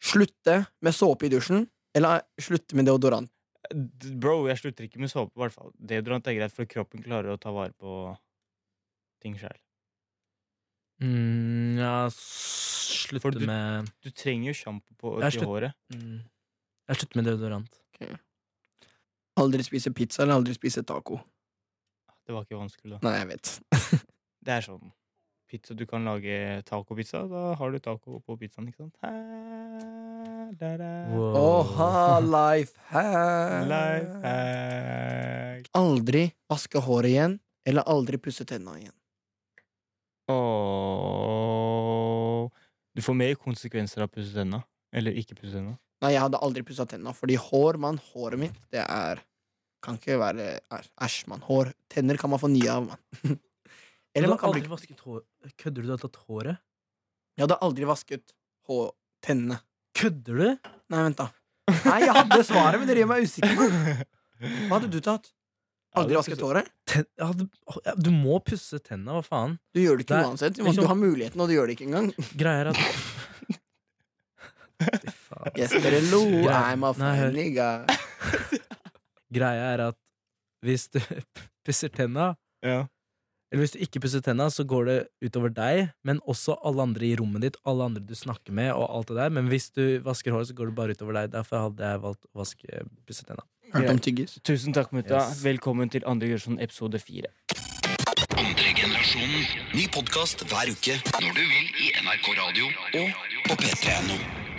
Slutte med såpe i dusjen, eller slutte med deodorant?
D- Bro, jeg slutter ikke med såpe, i hvert fall. Deodorant er greit, for kroppen klarer å ta vare på ting sjøl.
Mm, ja, s-
For
slutte
du-
med
Du trenger jo sjampo på
Jeg
til
slutt-
håret.
mm, Jeg slutter med deodorant.
Aldri spise pizza, eller aldri spise taco?
Det var ikke vanskelig, da.
Nei, jeg vet.
Det er sånn pizza Du kan lage tacopizza. Da har du taco på pizzaen, ikke sant? Hæ, da, da.
Wow.
Åha, life hack.
Life hack.
Aldri vaske håret igjen, eller aldri pusse tenna igjen.
Åh. Du får mer konsekvenser av å pusse tenna. Eller ikke pusse tenna.
Nei, jeg hadde aldri pussa tenna, fordi hår, mann, håret mitt, det er Kan ikke være er- Æsj, mann. Hår. Tenner kan man få nye av, mann.
Du
eller man
har
kan
aldri
bli
vasket hår Kødder du? Du har tatt håret?
Jeg hadde aldri vasket hår, tennene.
Kødder du?
Nei, vent, da. Nei, jeg hadde svaret, men dere gjør meg usikker. Hva
Hva
hadde du tatt? Aldri vasket håret?
Ten, ja, du, ja, du må pusse tenna, hva faen?
Du gjør det ikke
Det er-
uansett. Du,
liksom-
du har muligheten, og du gjør det ikke engang.
Greia er at Fy faen.
Yes, dere lo.
Greit.
I'm a
Nei, hør.
funny guy.
Greia er at hvis du pusser tenna,
Ja.
eller hvis du ikke pusser tenna, så går det utover deg, men også alle andre i rommet ditt, alle andre du snakker med, og alt det der. Men hvis du vasker håret, så går det bare utover deg. Derfor hadde jeg valgt å vaske pusse tenna.
Hørte om tyggis.
Tusen takk, mutta.
Yes.
Velkommen til andre generasjon episode fire.
Andre generasjonen. Ny podkast hver uke når du vil i NRK Radio og på P3.no.